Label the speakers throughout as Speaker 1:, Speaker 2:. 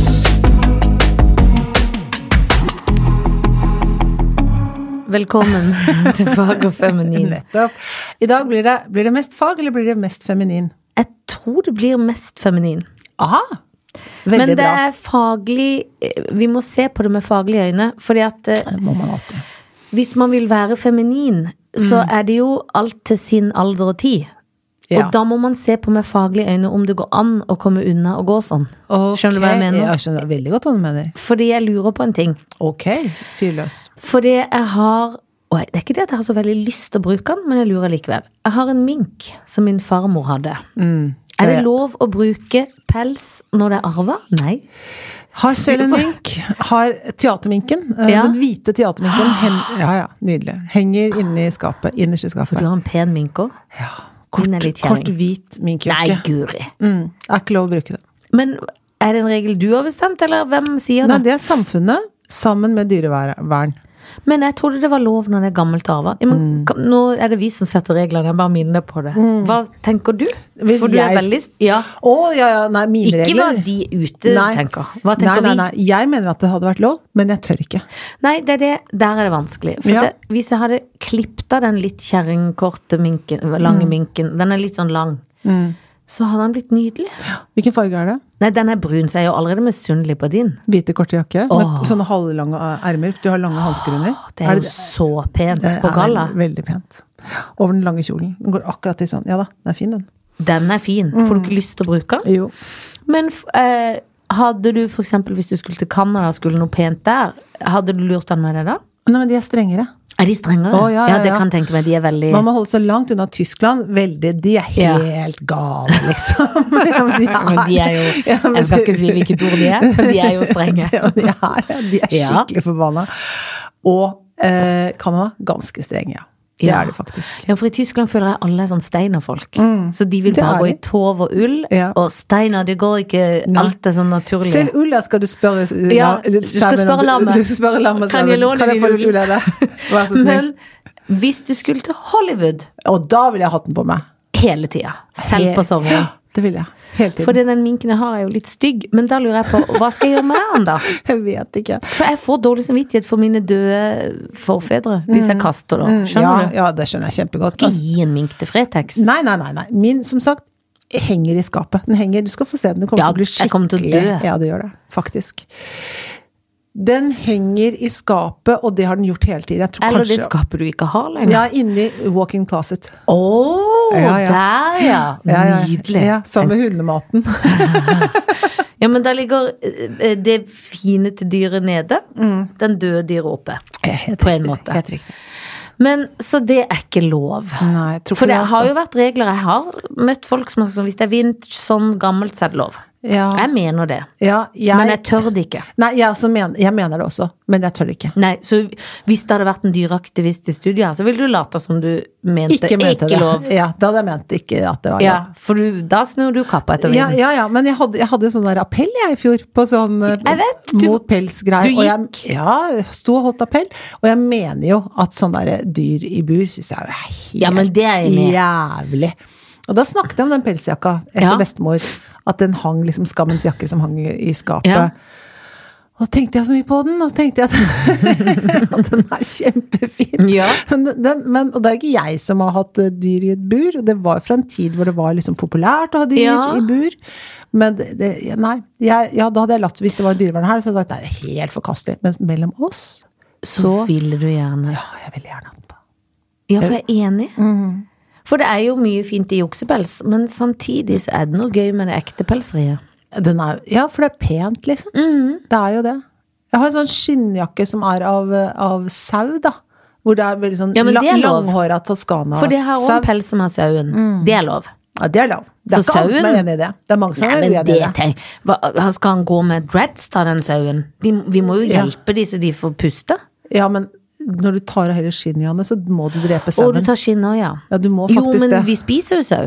Speaker 1: Velkommen til Fag og feminin.
Speaker 2: Nettopp. I dag blir det, blir det mest fag, eller blir det mest feminin?
Speaker 1: Jeg tror det blir mest feminin.
Speaker 2: Aha! Veldig
Speaker 1: Men det
Speaker 2: bra.
Speaker 1: er faglig eh, Vi må se på det med faglige øyne. Fordi at eh,
Speaker 2: Det må man alltid.
Speaker 1: hvis man vil være feminin, så er det jo alt til sin alder og tid.
Speaker 2: Mm. Ja.
Speaker 1: Og da må man se på med faglige øyne om det går an å komme unna å gå sånn. Skjønner du hva jeg
Speaker 2: Ok,
Speaker 1: mener?
Speaker 2: Jeg skjønner veldig godt hva du mener.
Speaker 1: Fordi jeg lurer på en ting.
Speaker 2: Ok, fyr løs.
Speaker 1: Fordi jeg har og Det er ikke det at jeg har så veldig lyst til å bruke den, men jeg lurer likevel. Jeg har en mink som min farmor hadde.
Speaker 2: Mm.
Speaker 1: Er det lov å bruke pels når det er arva? Nei.
Speaker 2: Har selv en mink. Har teaterminken. eh,
Speaker 1: Ja.
Speaker 2: Den hvite teaterminken. Hen, ja, ja, nydelig. Henger inne i skapet. Innerst i
Speaker 1: For
Speaker 2: skapet.
Speaker 1: du har en pen mink òg?
Speaker 2: Ja.
Speaker 1: Hun er
Speaker 2: Kort,
Speaker 1: litt kjerring.
Speaker 2: kort hvit
Speaker 1: Nei,
Speaker 2: minkjakke.
Speaker 1: guri.
Speaker 2: Mm. Er ikke lov å bruke det.
Speaker 1: Men er det en regel du har bestemt, eller hvem sier
Speaker 2: Nei,
Speaker 1: det?
Speaker 2: det er samfunnet sammen med dyrevern.
Speaker 1: Men jeg trodde det var lov når det er gammelt arva. Ja,
Speaker 2: Mm.
Speaker 1: men kan- Nå er det vi som setter reglene, jeg bare minner på det. Hva tenker du?
Speaker 2: Hvis
Speaker 1: For du er
Speaker 2: jeg
Speaker 1: veldig Ja.
Speaker 2: Å, ja, ja, nei, mine
Speaker 1: Ikke
Speaker 2: regler.
Speaker 1: hva de ute tenker. Hva tenker
Speaker 2: nei,
Speaker 1: vi?
Speaker 2: nei, nei. Jeg mener at det hadde vært lov, men jeg tør ikke.
Speaker 1: Nei, det er det, der er det vanskelig. For
Speaker 2: Ja.
Speaker 1: det, hvis jeg hadde klippet av den litt kjerringkorte minken,
Speaker 2: Mm.
Speaker 1: lange minken, den er litt sånn lang, så hadde den blitt nydelig.
Speaker 2: Hvilken farge er det?
Speaker 1: Nei, den er brun, så jeg er jo allerede misunnelig på din.
Speaker 2: Hvite, korte jakke
Speaker 1: Åh.
Speaker 2: med sånne halvlange eh, ermer. for Du har lange hansker under.
Speaker 1: Det er, jo så pent
Speaker 2: det
Speaker 1: på
Speaker 2: Eh, er
Speaker 1: galla.
Speaker 2: Veldig pent. Over den lange kjolen. Den går akkurat i sånn. Ja da, den er fin, den.
Speaker 1: Den er fin.
Speaker 2: Mm.
Speaker 1: Får du ikke lyst til å bruke den?
Speaker 2: Jo.
Speaker 1: Men f- eh, hadde du for eksempel, hvis du skulle til Canada, skulle noe pent der, hadde du lurt den med deg da?
Speaker 2: Nei, men de er strengere.
Speaker 1: Er de strengere?
Speaker 2: Å, ja, ja,
Speaker 1: det
Speaker 2: ja.
Speaker 1: kan jeg tenke meg. De er veldig
Speaker 2: Man må holde seg langt unna Tyskland. Veldig De er
Speaker 1: Ja.
Speaker 2: helt gale, liksom. ja, men de er,
Speaker 1: Men de er jo
Speaker 2: Ja, men
Speaker 1: Jeg skal ikke si hvilket ord de er, men de er jo strenge.
Speaker 2: Ja, men de er, de er
Speaker 1: Ja.
Speaker 2: skikkelig forbanna. Og eh, Canada, ganske streng, ja. Det
Speaker 1: Ja.
Speaker 2: er det faktisk. Mm.
Speaker 1: Ja, for i Tyskland føler jeg alle er sånn steinerfolk. Så de vil
Speaker 2: Det
Speaker 1: bare
Speaker 2: er
Speaker 1: gå i
Speaker 2: de.
Speaker 1: tov og ull.
Speaker 2: Ja.
Speaker 1: Og steiner, det går ikke
Speaker 2: Nei.
Speaker 1: Alt er sånn naturlig.
Speaker 2: Selv Ulla skal du spørre eh,
Speaker 1: Ja,
Speaker 2: la- eller
Speaker 1: du skal
Speaker 2: sammen om-
Speaker 1: spørre lammet.
Speaker 2: Du skal spørre lammet
Speaker 1: Kan jeg
Speaker 2: sammen.
Speaker 1: låne
Speaker 2: kan jeg
Speaker 1: din
Speaker 2: få litt
Speaker 1: ull?
Speaker 2: ull av deg? Vær så snill.
Speaker 1: Men hvis du skulle til Hollywood
Speaker 2: Og da ville jeg hatt den på meg.
Speaker 1: hele tida, selv på
Speaker 2: Helt-
Speaker 1: sommeren
Speaker 2: Det ville jeg. Hele tiden.
Speaker 1: Fordi den minken jeg har, er jo litt stygg, men da lurer jeg på hva skal jeg gjøre med den, da?
Speaker 2: Jeg vet ikke.
Speaker 1: For jeg får dårlig samvittighet for mine døde forfedre hvis jeg kaster den. Skjønner
Speaker 2: Mm. ja,
Speaker 1: du?
Speaker 2: Ja, det skjønner jeg kjempegodt.
Speaker 1: Ikke
Speaker 2: Altså,
Speaker 1: gi en mink til Fretex.
Speaker 2: nei, nei, nei, nei. Min, som sagt, henger i skapet. Den henger, du skal få se den. Du kommer
Speaker 1: Ja,
Speaker 2: til å bli skikkelig
Speaker 1: jeg kommer til å dø.
Speaker 2: Ja, du gjør det. Faktisk. Den henger i skapet, og det har den gjort hele tiden. Jeg tror
Speaker 1: Eller det
Speaker 2: kanskje
Speaker 1: skapet du ikke har lenger.
Speaker 2: Ja, inni walk-in closet.
Speaker 1: Å,
Speaker 2: Ja, ja.
Speaker 1: der, ja.
Speaker 2: Ja, ja, ja.
Speaker 1: Nydelig.
Speaker 2: Ja, sammen med hundematen.
Speaker 1: Ja, men der ligger eh, det fine til dyret nede,
Speaker 2: Mm.
Speaker 1: den døde dyret oppe.
Speaker 2: Helt
Speaker 1: På en
Speaker 2: riktig,
Speaker 1: måte.
Speaker 2: Helt riktig.
Speaker 1: Men så det er ikke lov.
Speaker 2: Nei, jeg tror
Speaker 1: For
Speaker 2: ikke
Speaker 1: det
Speaker 2: altså.
Speaker 1: har jo vært regler. Jeg har møtt folk som har sagt hvis det er vintage, sånn gammelt, så er det lov.
Speaker 2: Ja,
Speaker 1: Jeg mener det.
Speaker 2: ja jeg,
Speaker 1: Men jeg tør det ikke.
Speaker 2: Nei, jeg, også men, jeg mener det også, men jeg tør det ikke.
Speaker 1: Nei, så hvis det hadde vært en dyreaktivist i studio her, så ville du late som du mente
Speaker 2: Ikke mente det.
Speaker 1: lov.
Speaker 2: Ja, da hadde jeg ment ikke at det var
Speaker 1: Ja,
Speaker 2: lov.
Speaker 1: for du, da snur du kappa etter
Speaker 2: Ja,
Speaker 1: vinden.
Speaker 2: ja, ja, men jeg hadde, jeg hadde sånn der appell jeg i fjor, på sånn eh,
Speaker 1: Jeg vet, du-
Speaker 2: mot pelsgreier.
Speaker 1: du
Speaker 2: og jeg- Ja, jeg sto og holdt appell. Og jeg mener jo at sånn derre dyr i bur syns jeg er helt
Speaker 1: Ja, men det er jeg enig i.
Speaker 2: jævlig. Og da snakket jeg om den pelsjakka
Speaker 1: Ja.
Speaker 2: etter bestemor. At den hang liksom skammens jakke som hang i i skapet.
Speaker 1: Ja.
Speaker 2: Og da tenkte jeg så mye på den, og så tenkte jeg at, at den er kjempefin.
Speaker 1: Ja.
Speaker 2: Men, den, men, og det er jo ikke jeg som har hatt eh, dyr i et bur, og det var fra en tid hvor det var liksom populært å ha dyr
Speaker 1: Ja.
Speaker 2: i bur. Men det, det, nei, jeg, ja, da hadde jeg latt, hvis det var dyrevern her, så hadde jeg sagt nei, det er helt forkastelig. Men mellom oss,
Speaker 1: Så
Speaker 2: så,
Speaker 1: ville du gjerne.
Speaker 2: ja, jeg ville gjerne hatt den på.
Speaker 1: Ja,
Speaker 2: Eh,
Speaker 1: for jeg er enig.
Speaker 2: mhm.
Speaker 1: For det er jo mye fint i juksepels, men samtidig så er det noe gøy med det ekte pelseriet.
Speaker 2: Den er, ja, for det er pent, liksom.
Speaker 1: Mhm.
Speaker 2: Det er jo det. Jeg har en sånn skinnjakke som er av, eh, av sau, da. Hvor det er veldig sånn
Speaker 1: Ja, men
Speaker 2: la-
Speaker 1: det er lov.
Speaker 2: langhåra toskana.
Speaker 1: For det har òg
Speaker 2: sau.
Speaker 1: en pels som har sauen.
Speaker 2: Mm.
Speaker 1: Det er lov.
Speaker 2: Ja, det er lov. Det er
Speaker 1: For
Speaker 2: ikke alle som er
Speaker 1: sauen-
Speaker 2: enig i det. Det er mange som
Speaker 1: Nei,
Speaker 2: er
Speaker 1: men
Speaker 2: uenig i
Speaker 1: det
Speaker 2: det.
Speaker 1: tenk hva, han Skal han gå med dreads, da, den sauen? De, vi må jo
Speaker 2: Ja.
Speaker 1: hjelpe de så de får puste.
Speaker 2: Ja, men når du tar av hele skinnet, Janne, så må du drepe
Speaker 1: Og du
Speaker 2: sauen.
Speaker 1: tar skinn òg, ja.
Speaker 2: Ja, du må
Speaker 1: Jo,
Speaker 2: faktisk
Speaker 1: men
Speaker 2: det.
Speaker 1: vi spiser jo sau.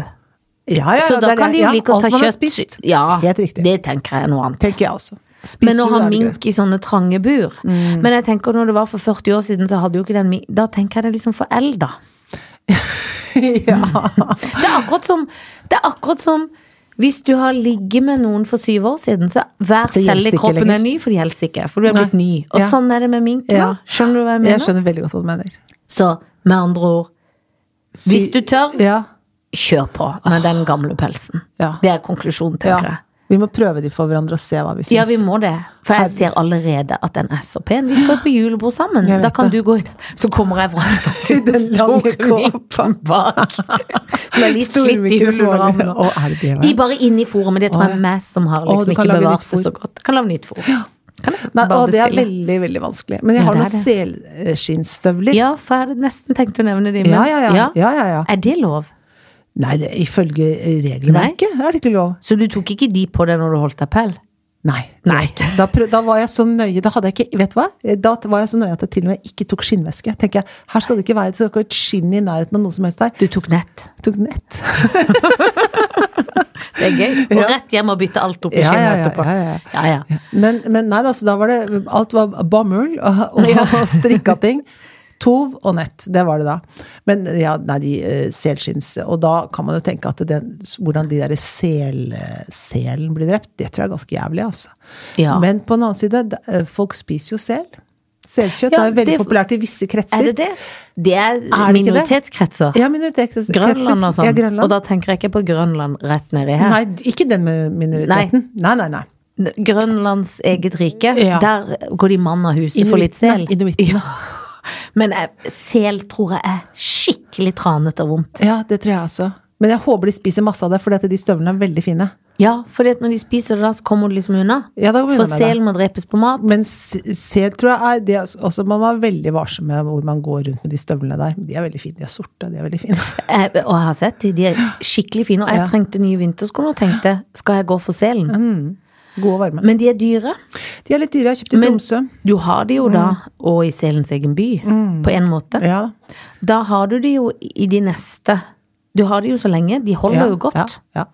Speaker 2: Ja, ja, ja,
Speaker 1: Så
Speaker 2: det
Speaker 1: da
Speaker 2: er
Speaker 1: kan
Speaker 2: det.
Speaker 1: de jo
Speaker 2: Ja,
Speaker 1: like å
Speaker 2: alt
Speaker 1: ta
Speaker 2: man har
Speaker 1: kjøtt.
Speaker 2: spist.
Speaker 1: Ja,
Speaker 2: Helt riktig.
Speaker 1: det tenker jeg er noe annet.
Speaker 2: Tenker jeg også. Spiser
Speaker 1: Men å
Speaker 2: du, Mm.
Speaker 1: ha
Speaker 2: er det greit.
Speaker 1: mink i sånne trange bur. Men jeg tenker når det var for 40 år siden, så hadde jo ikke den mink Da tenker jeg det er liksom forelda.
Speaker 2: ja.
Speaker 1: Det er akkurat som, det er akkurat som Hvis du har ligget med noen for syv år siden, så hver
Speaker 2: Det gjelder
Speaker 1: celle i
Speaker 2: ikke
Speaker 1: kroppen
Speaker 2: lenger.
Speaker 1: er ny, for det gjelder ikke. For du er blitt
Speaker 2: Nei.
Speaker 1: ny. Og
Speaker 2: Ja.
Speaker 1: sånn er det med mink nå.
Speaker 2: Ja.
Speaker 1: Skjønner du hva jeg mener?
Speaker 2: Jeg skjønner veldig godt hva du mener.
Speaker 1: så med andre ord, hvis du tør,
Speaker 2: Ja.
Speaker 1: kjør på med den gamle pelsen.
Speaker 2: Ja.
Speaker 1: Det er konklusjonen,
Speaker 2: ja.
Speaker 1: tenker jeg.
Speaker 2: Vi må prøve de for hverandre og se hva vi syns.
Speaker 1: Ja, vi må det. For jeg ser allerede at den er så pen. Vi skal jo på julebord sammen.
Speaker 2: Jeg vet
Speaker 1: Da kan
Speaker 2: det.
Speaker 1: du gå inn, så kommer jeg vraka
Speaker 2: I
Speaker 1: til den
Speaker 2: den lange
Speaker 1: store minken bak. Som er litt slitt i
Speaker 2: Storminken
Speaker 1: hull under
Speaker 2: som var-
Speaker 1: armen. nå.
Speaker 2: Å, er det det, vel?
Speaker 1: I bare inne i forum, men det tror
Speaker 2: Å,
Speaker 1: jeg er meg som har
Speaker 2: Å, du
Speaker 1: liksom
Speaker 2: kan
Speaker 1: ikke
Speaker 2: lage
Speaker 1: bevart
Speaker 2: nytt
Speaker 1: det
Speaker 2: forum.
Speaker 1: så godt. Kan lage nytt forum. Kan jeg
Speaker 2: Nei,
Speaker 1: bare
Speaker 2: og det er
Speaker 1: bestille.
Speaker 2: veldig, veldig vanskelig. Men jeg
Speaker 1: Ja,
Speaker 2: har
Speaker 1: det
Speaker 2: noen selskinnsstøvler.
Speaker 1: Ja, for jeg hadde nesten tenkt å nevne de, men
Speaker 2: Ja, ja, ja. ja, ja, ja.
Speaker 1: Er det lov?
Speaker 2: Nei, det, ifølge regelverket er det ikke lov.
Speaker 1: Så du tok ikke de på deg når du holdt appell?
Speaker 2: Nei.
Speaker 1: Nei.
Speaker 2: Da, prøv, da var jeg så nøye da hadde jeg ikke, vet du hva? Da var jeg så nøye at jeg til og med ikke tok skinnvæske. Tenker jeg, Her skal det ikke være det skal ikke være et skinn i nærheten av noe som helst her.
Speaker 1: Du tok nett.
Speaker 2: Jeg tok nett.
Speaker 1: Det er gøy. Og rett hjem og bytte alt opp i
Speaker 2: Ja,
Speaker 1: skinnet
Speaker 2: ja, ja,
Speaker 1: etterpå.
Speaker 2: ja, ja.
Speaker 1: ja, ja.
Speaker 2: Men, men nei, altså, da var det Alt var bomull og, og, og strikka ting. Tov og nett, det var det da. Men ja, nei, de eh, selskinns Og da kan man jo tenke at det, hvordan de derre sel, selen blir drept, det tror jeg er ganske jævlig, altså.
Speaker 1: Ja.
Speaker 2: Men på den annen side, d- eh, folk spiser jo sel. Selkjøtt
Speaker 1: Ja,
Speaker 2: er jo veldig
Speaker 1: det-
Speaker 2: populært i visse kretser.
Speaker 1: Er det det? Det er,
Speaker 2: det ikke det?
Speaker 1: minoritetskretser.
Speaker 2: Ja, minoritetskretser.
Speaker 1: Grønland og sånn.
Speaker 2: Ja, Grønland.
Speaker 1: Og da tenker jeg ikke på Grønland rett nedi her.
Speaker 2: Nei, ikke den med minoriteten. Nei, nei, nei.
Speaker 1: Grønlands eget rike,
Speaker 2: Ja.
Speaker 1: der går de mann av huset for litt sel.
Speaker 2: Inuittene, inuittene.
Speaker 1: Men jeg, sel tror jeg er skikkelig tranete og vondt.
Speaker 2: Ja, det tror jeg også. Men jeg håper de spiser masse av det, for de støvlene er veldig fine.
Speaker 1: Ja, for når de spiser det da, så kommer du liksom unna.
Speaker 2: Ja, da kommer vi
Speaker 1: For
Speaker 2: unna det.
Speaker 1: selen må drepes på mat.
Speaker 2: Men se- sel tror jeg er det er også Man må være veldig varsom med hvor man går rundt med de støvlene der. De er veldig fine. De er sorte, de er veldig fine.
Speaker 1: Jeg, Eh, og jeg har sett de, de er skikkelig fine. Og jeg
Speaker 2: Ja. Mm.
Speaker 1: trengte nye vintersko og tenkte, skal jeg gå for selen?
Speaker 2: Gode og varme.
Speaker 1: Men de er dyre.
Speaker 2: De er litt dyre. Jeg har kjøpt i
Speaker 1: Men-
Speaker 2: Tromsø.
Speaker 1: Du har de jo da,
Speaker 2: Mm.
Speaker 1: og i selens egen by, på en måte.
Speaker 2: Ja.
Speaker 1: Da har du de jo i de neste. Du har de jo så lenge. De holder
Speaker 2: ja,
Speaker 1: jo godt.
Speaker 2: Ja, ja.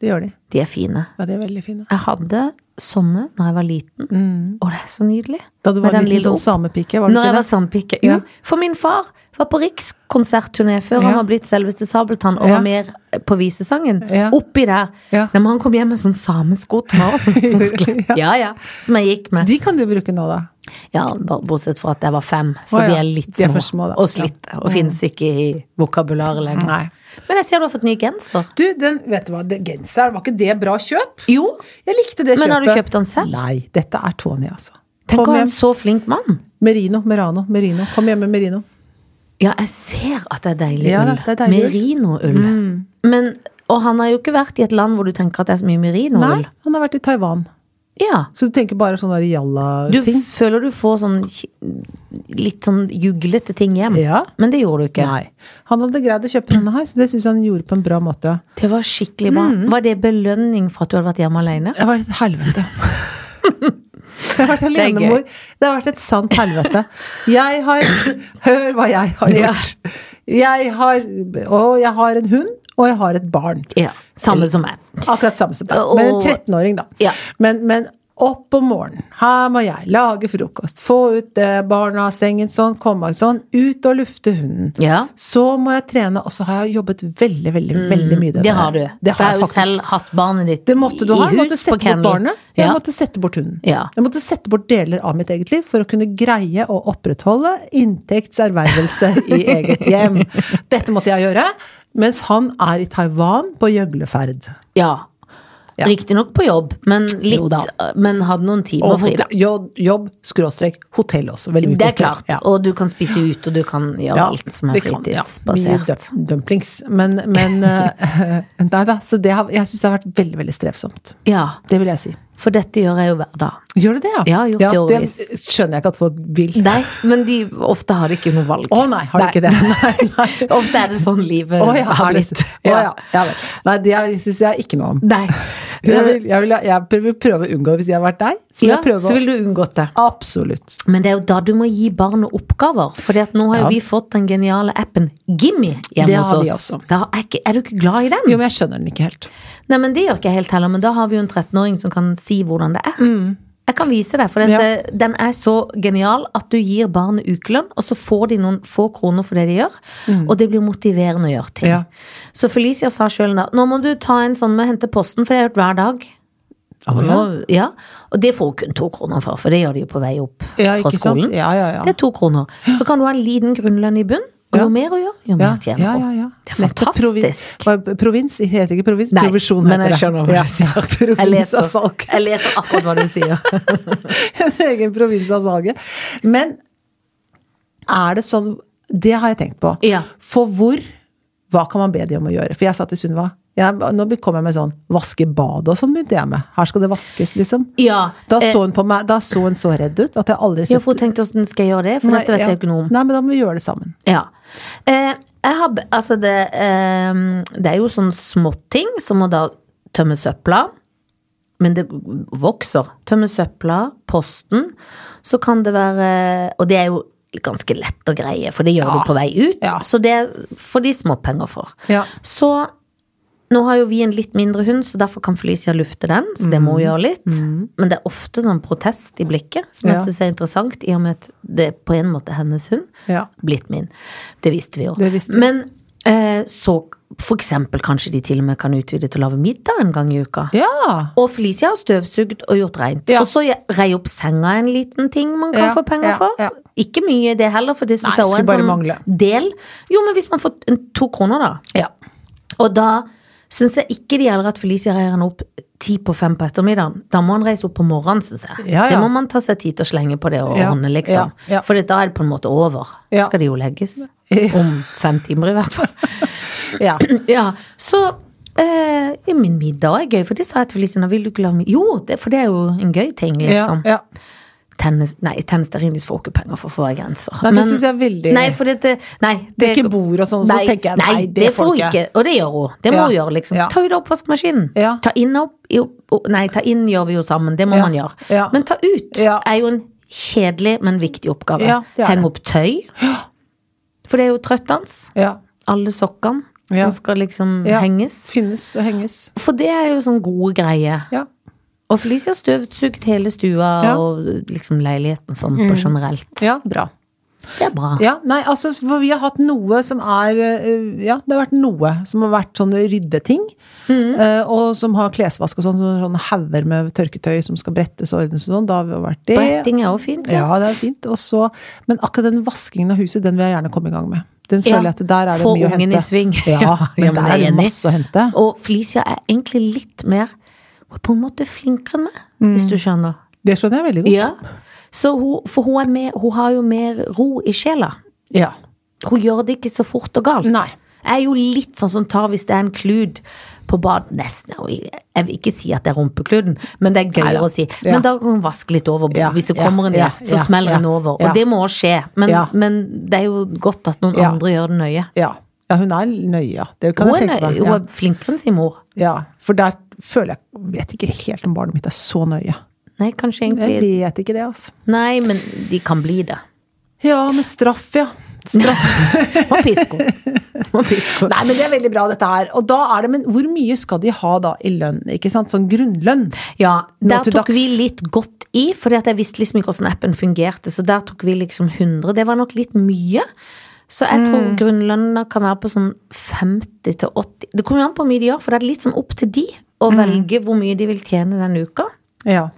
Speaker 2: Det gjør de.
Speaker 1: De er fine.
Speaker 2: Ja, de er veldig fine.
Speaker 1: Jeg hadde sånne da jeg var liten. Og det er så nydelig.
Speaker 2: Mm. Da du
Speaker 1: Med
Speaker 2: var
Speaker 1: den
Speaker 2: liten
Speaker 1: lille
Speaker 2: sånn
Speaker 1: opp-
Speaker 2: samepike, var du
Speaker 1: Når jeg
Speaker 2: ikke
Speaker 1: var
Speaker 2: det?
Speaker 1: sandpike.
Speaker 2: Ja.
Speaker 1: Jo, for min far var på rikskonsertturné før han
Speaker 2: Ja.
Speaker 1: var blitt selveste Sabeltann og
Speaker 2: Ja.
Speaker 1: var mer eh, på visesangen.
Speaker 2: Ja.
Speaker 1: Oppi der.
Speaker 2: Ja.
Speaker 1: Nei, men han kom hjem med sånn samesko til meg også. Sånn skle-
Speaker 2: Ja.
Speaker 1: ja, ja. Som jeg gikk med.
Speaker 2: De kan du bruke nå, da.
Speaker 1: Ja, bare bortsett fra at jeg var fem, så
Speaker 2: Å, ja.
Speaker 1: de er litt
Speaker 2: De er
Speaker 1: små.
Speaker 2: for små, da.
Speaker 1: og slitte. Og finnes ikke i vokabularet lenger.
Speaker 2: Nei.
Speaker 1: Men jeg ser du har fått ny genser.
Speaker 2: Du, den, vet du hva, det, genseren, var ikke det bra kjøp?
Speaker 1: Jo,
Speaker 2: Jeg likte det kjøpet.
Speaker 1: Men har du kjøpt den selv?
Speaker 2: Nei, dette er Tony, altså.
Speaker 1: tenk å
Speaker 2: Kom
Speaker 1: ha
Speaker 2: hjem.
Speaker 1: en så flink mann.
Speaker 2: Merino, Merano, Merino. Kom hjem med Merino.
Speaker 1: Ja, jeg ser at det er deilig
Speaker 2: Ja,
Speaker 1: ull.
Speaker 2: det er deilig ull. Mm.
Speaker 1: Merinoull. Men, og han har jo ikke vært i et land hvor du tenker at det er så mye
Speaker 2: Nei,
Speaker 1: merinoull.
Speaker 2: han har vært i Taiwan.
Speaker 1: Ja.
Speaker 2: Så du tenker bare sånne der
Speaker 1: Du
Speaker 2: jalla-ting?
Speaker 1: f- føler du får sånn ki- litt sånn juglete ting hjem.
Speaker 2: Ja.
Speaker 1: Men det gjorde du ikke.
Speaker 2: Nei. Han hadde greid å kjøpe denne her, så det syns han gjorde på en bra måte.
Speaker 1: Det var skikkelig bra.
Speaker 2: Mm.
Speaker 1: Var det belønning for at du hadde vært hjemme alene?
Speaker 2: Det var et helvete. Jeg har vært
Speaker 1: er gøy.
Speaker 2: alenemor. Det har vært et sant helvete. Jeg har Hør hva jeg har gjort. Jeg har Og jeg har en hund, og jeg har et barn.
Speaker 1: Ja. Samme som meg.
Speaker 2: Akkurat samme som deg.
Speaker 1: Og-
Speaker 2: Men en 13-åring, da.
Speaker 1: Ja.
Speaker 2: Men, men opp om morgenen. Her må jeg lage frokost. Få ut eh, barna av sengen sånn, komme av sånn. Ut og lufte hunden.
Speaker 1: Ja.
Speaker 2: Så må jeg trene, og så har jeg jobbet veldig, veldig veldig mye.
Speaker 1: Mm,
Speaker 2: denne-
Speaker 1: Det har du. for jeg
Speaker 2: Det har
Speaker 1: har
Speaker 2: jeg
Speaker 1: jo
Speaker 2: faktisk.
Speaker 1: selv hatt barnet ditt
Speaker 2: Det måtte du
Speaker 1: i
Speaker 2: ha. Jeg måtte
Speaker 1: hus på
Speaker 2: sette bort
Speaker 1: kennel.
Speaker 2: barnet. Jeg
Speaker 1: Ja.
Speaker 2: måtte sette bort hunden.
Speaker 1: Ja.
Speaker 2: Jeg måtte sette bort deler av mitt eget liv for å kunne greie å opprettholde inntektservervelse i eget hjem. Dette måtte jeg gjøre. Mens han er i Taiwan på gjøgleferd.
Speaker 1: ja.
Speaker 2: Ja.
Speaker 1: Riktignok på jobb, men
Speaker 2: Jo
Speaker 1: litt
Speaker 2: da.
Speaker 1: Men hadde noen timer
Speaker 2: Og
Speaker 1: fri, da.
Speaker 2: hotell- jo- jobb, skråstrek, hotell også. Veldig mye
Speaker 1: Det er
Speaker 2: hotell.
Speaker 1: klart. Og du kan spise ut, og du kan gjøre alt som er
Speaker 2: det kan- ja,
Speaker 1: fritidsbasert.
Speaker 2: mye dum- dumplings. Men, men eh, Nei da. Så det har, jeg syns det har vært veldig, veldig strevsomt.
Speaker 1: Ja,
Speaker 2: Det vil jeg si.
Speaker 1: for dette gjør jeg jo hver dag.
Speaker 2: Gjør du det, ja?
Speaker 1: Ja, jeg har gjort det i
Speaker 2: det
Speaker 1: årevis.
Speaker 2: skjønner jeg ikke at folk vil. Å
Speaker 1: Nei, men de ofte har de ikke noe valg.
Speaker 2: nei, har du ikke det? Nei, nei.
Speaker 1: Ofte er det sånn livet
Speaker 2: Å ja,
Speaker 1: har
Speaker 2: er det-
Speaker 1: blitt.
Speaker 2: Å ja. ja vel. Nei, det syns jeg ikke noe om.
Speaker 1: Nei.
Speaker 2: Jeg vil, jeg vil, jeg vil prøve å unngå det hvis jeg har vært deg. Så vil
Speaker 1: Eh, Ja,
Speaker 2: jeg prøve
Speaker 1: så
Speaker 2: å
Speaker 1: vil du unngått det.
Speaker 2: Absolutt.
Speaker 1: Men det er jo da du må gi barnet oppgaver. For nå har jo
Speaker 2: Ja.
Speaker 1: vi fått den geniale appen Gimme hjemme
Speaker 2: Det har
Speaker 1: hos
Speaker 2: vi
Speaker 1: oss.
Speaker 2: også.
Speaker 1: Da er, ikke, er du ikke glad i den?
Speaker 2: Jo, men jeg skjønner den ikke helt.
Speaker 1: Nei, men det gjør ikke jeg helt heller, men da har vi jo en 13-åring som kan si hvordan det er. Jeg kan vise deg, for
Speaker 2: Mm. Ja.
Speaker 1: dette, den er så genial at du gir barnet ukelønn, og så får de noen få kroner for det de gjør. Og det blir motiverende å gjøre ting.
Speaker 2: Mm. Ja.
Speaker 1: Så Felicia sa sjøl da nå må du ta en sånn med å hente posten, for det har jeg gjort hver dag.
Speaker 2: Å, ja.
Speaker 1: Og, ja. og det får hun kun to kroner for, for det gjør de jo på vei opp
Speaker 2: Ja,
Speaker 1: fra
Speaker 2: ikke sant?
Speaker 1: skolen.
Speaker 2: Ja, ja, ja.
Speaker 1: Det er to kroner. Så kan du ha en liten grunnlønn i bunn, og
Speaker 2: Ja.
Speaker 1: jo mer å gjøre, jo mer
Speaker 2: Ja,
Speaker 1: tjener
Speaker 2: ja,
Speaker 1: hun.
Speaker 2: ja, ja.
Speaker 1: Det er
Speaker 2: Nettopp provi-
Speaker 1: fantastisk.
Speaker 2: Hva- Provins heter ikke provins,
Speaker 1: Nei,
Speaker 2: provisjon heter
Speaker 1: men jeg skjønner hva
Speaker 2: Ja,
Speaker 1: du sier. Jeg
Speaker 2: Provins av
Speaker 1: leser,
Speaker 2: salg.
Speaker 1: jeg leser akkurat hva du sier.
Speaker 2: En egen provins av salget. Men er det sånn Det har jeg tenkt på.
Speaker 1: Ja.
Speaker 2: For hvor Hva kan man be de om å gjøre? For jeg sa til Sunniva jeg- Nå kom jeg med sånn Vaske badet og sånn begynte jeg med. Her skal det vaskes, liksom.
Speaker 1: Ja,
Speaker 2: Da
Speaker 1: eh,
Speaker 2: så hun på meg Da så hun så redd ut at jeg aldri
Speaker 1: Ja, for hun tenkte åssen skal jeg gjøre det, for dette vet
Speaker 2: ja.
Speaker 1: jeg jo ikke noe om.
Speaker 2: Nei, men da må vi gjøre det sammen.
Speaker 1: Ja. Eh, jeg har, be- altså det, eh, det er jo sånne småting som å da tømme søpla. Men det vokser. Tømme søpla, posten. Så kan det være Og det er jo ganske lett å greie, for det gjør
Speaker 2: Ja.
Speaker 1: du på vei ut.
Speaker 2: Ja.
Speaker 1: Så det får de småpenger for.
Speaker 2: Ja.
Speaker 1: Så nå har jo vi en litt mindre hund, så derfor kan Felicia lufte den. Så det
Speaker 2: Mm.
Speaker 1: må hun gjøre litt. Men det er ofte sånn protest i blikket, som
Speaker 2: Ja.
Speaker 1: jeg syns er interessant, i og med at det på en måte er hennes hund
Speaker 2: Ja.
Speaker 1: blitt min. Det visste vi jo.
Speaker 2: Det visste vi.
Speaker 1: Men eh, så for eksempel kanskje de til og med kan utvide til å lage middag en gang i uka.
Speaker 2: ja.
Speaker 1: Og Felicia har støvsugd og gjort rent.
Speaker 2: Ja.
Speaker 1: Og så rei opp senga en liten ting man kan
Speaker 2: Ja,
Speaker 1: få penger
Speaker 2: ja,
Speaker 1: for.
Speaker 2: ja.
Speaker 1: Ikke mye det heller, for det
Speaker 2: Nei,
Speaker 1: syns jeg også
Speaker 2: skulle
Speaker 1: er
Speaker 2: bare
Speaker 1: en sånn
Speaker 2: mangle.
Speaker 1: del. Jo, men hvis man får en- to kroner, da.
Speaker 2: ja.
Speaker 1: Og da syns jeg ikke det gjelder at Felicia reier han opp ti på fem på ettermiddagen. Da må han reise opp på morgenen, syns jeg.
Speaker 2: Ja, ja.
Speaker 1: Det må man ta seg tid til å slenge på det og
Speaker 2: Ja,
Speaker 1: ordne, liksom.
Speaker 2: ja, ja.
Speaker 1: For da er det på en måte over.
Speaker 2: Ja.
Speaker 1: Skal de jo legges.
Speaker 2: Ja.
Speaker 1: Om fem timer, i hvert fall.
Speaker 2: ja.
Speaker 1: ja, så eh, ja, min middag er gøy, for det sa jeg til Felicia. Nå vil du ikke lage middag? Jo, det, for det er jo en gøy ting, liksom.
Speaker 2: Ja, ja.
Speaker 1: Tennis, nei, tennisstearinlys får ikke penger for, for å være grenser.
Speaker 2: Nei, det synes jeg er veldig-
Speaker 1: Nei, for dette Nei.
Speaker 2: Det er ikke bord og sånn, så tenker jeg, nei,
Speaker 1: får
Speaker 2: det får
Speaker 1: hun
Speaker 2: ikke.
Speaker 1: ikke. Og det gjør hun. Det må
Speaker 2: Ja.
Speaker 1: hun gjøre, liksom.
Speaker 2: Ja.
Speaker 1: Ta ut av oppvaskmaskinen.
Speaker 2: Ja.
Speaker 1: Ta inn opp, i opp Nei, ta inn gjør vi jo sammen, det må
Speaker 2: Ja.
Speaker 1: man gjøre.
Speaker 2: Ja.
Speaker 1: Men ta ut
Speaker 2: Ja.
Speaker 1: er jo en kjedelig, men viktig oppgave.
Speaker 2: Ja, det er
Speaker 1: Heng
Speaker 2: det.
Speaker 1: opp tøy. For det er jo trøttende.
Speaker 2: ja.
Speaker 1: Alle sokkene
Speaker 2: Ja.
Speaker 1: som skal liksom
Speaker 2: Ja.
Speaker 1: henges.
Speaker 2: Finnes og henges.
Speaker 1: For det er jo sånn gode greier.
Speaker 2: Ja.
Speaker 1: Og Felicia har støvsugd hele stua
Speaker 2: Ja. Mm.
Speaker 1: og liksom leiligheten sånn på generelt.
Speaker 2: ja. Bra.
Speaker 1: Det er bra.
Speaker 2: Ja, nei, altså, for vi har hatt noe som er eh, Ja, det har vært noe som har vært sånne ryddeting.
Speaker 1: Mm.
Speaker 2: eh, Og som har klesvask og sånn, sånne, sånne hauger med tørketøy som skal brettes og ordnes og sånn. Da har vi jo vært det.
Speaker 1: Bretting er jo fint.
Speaker 2: Ja, det er fint. Og så, men akkurat den vaskingen av huset, den vil jeg gjerne komme i gang med. Den
Speaker 1: Ja,
Speaker 2: føler jeg at der er det
Speaker 1: få
Speaker 2: mye å
Speaker 1: ungen
Speaker 2: hente.
Speaker 1: i sving.
Speaker 2: Ja,
Speaker 1: Ja,
Speaker 2: men
Speaker 1: ja, men
Speaker 2: der
Speaker 1: jeg
Speaker 2: er
Speaker 1: er
Speaker 2: det
Speaker 1: enig.
Speaker 2: masse å hente.
Speaker 1: Og Felicia er egentlig litt mer Hun er på en måte flinkere enn meg,
Speaker 2: Mm.
Speaker 1: hvis du skjønner.
Speaker 2: Det skjønner jeg veldig godt.
Speaker 1: Ja. Så hun, for hun, er mer, hun har jo mer ro i sjela.
Speaker 2: Ja.
Speaker 1: Hun gjør det ikke så fort og galt.
Speaker 2: Nei.
Speaker 1: Jeg er jo litt sånn som tar hvis det er en klud på bad Nesten. og Jeg jeg vil ikke si at det er rumpekluden, men det er gøyere
Speaker 2: Neida.
Speaker 1: å si.
Speaker 2: Ja.
Speaker 1: Men da kan hun vaske litt over. bordet.
Speaker 2: Ja,
Speaker 1: Hvis det
Speaker 2: ja,
Speaker 1: kommer en
Speaker 2: ja,
Speaker 1: gjest, så
Speaker 2: ja,
Speaker 1: smeller
Speaker 2: ja,
Speaker 1: hun over. Og
Speaker 2: ja.
Speaker 1: det må skje. Men,
Speaker 2: Ja.
Speaker 1: men det er jo godt at noen
Speaker 2: Ja.
Speaker 1: andre gjør det nøye.
Speaker 2: ja. Ja, hun er nøye, ja. Det kan
Speaker 1: Hun er,
Speaker 2: jeg tenke
Speaker 1: nøye,
Speaker 2: meg.
Speaker 1: hun
Speaker 2: Ja.
Speaker 1: er flinkere enn sin mor.
Speaker 2: ja. For der føler jeg Vet ikke helt om barnet mitt er så nøye.
Speaker 1: Nei, kanskje
Speaker 2: Jeg
Speaker 1: egentlig
Speaker 2: vet ikke det, altså.
Speaker 1: Nei, men de kan bli det.
Speaker 2: Ja, med straff, ja. Straff.
Speaker 1: Må piske henne. Må piske henne.
Speaker 2: Nei, men det er veldig bra, dette her. Og da er det, men hvor mye skal de ha da i lønn? Ikke sant? Sånn grunnlønn?
Speaker 1: Ja, der
Speaker 2: Nå til
Speaker 1: tok
Speaker 2: dags.
Speaker 1: vi litt godt i, fordi at jeg visste liksom ikke hvordan appen fungerte, så der tok vi liksom 100. Det var nok litt mye. Så jeg tror
Speaker 2: Mm.
Speaker 1: grunnlønna kan være på sånn 50 til 80 Det kommer jo an på hvor mye de gjør, for det er litt sånn opp til de
Speaker 2: Mm.
Speaker 1: å velge hvor mye de vil tjene den uka.
Speaker 2: Ja.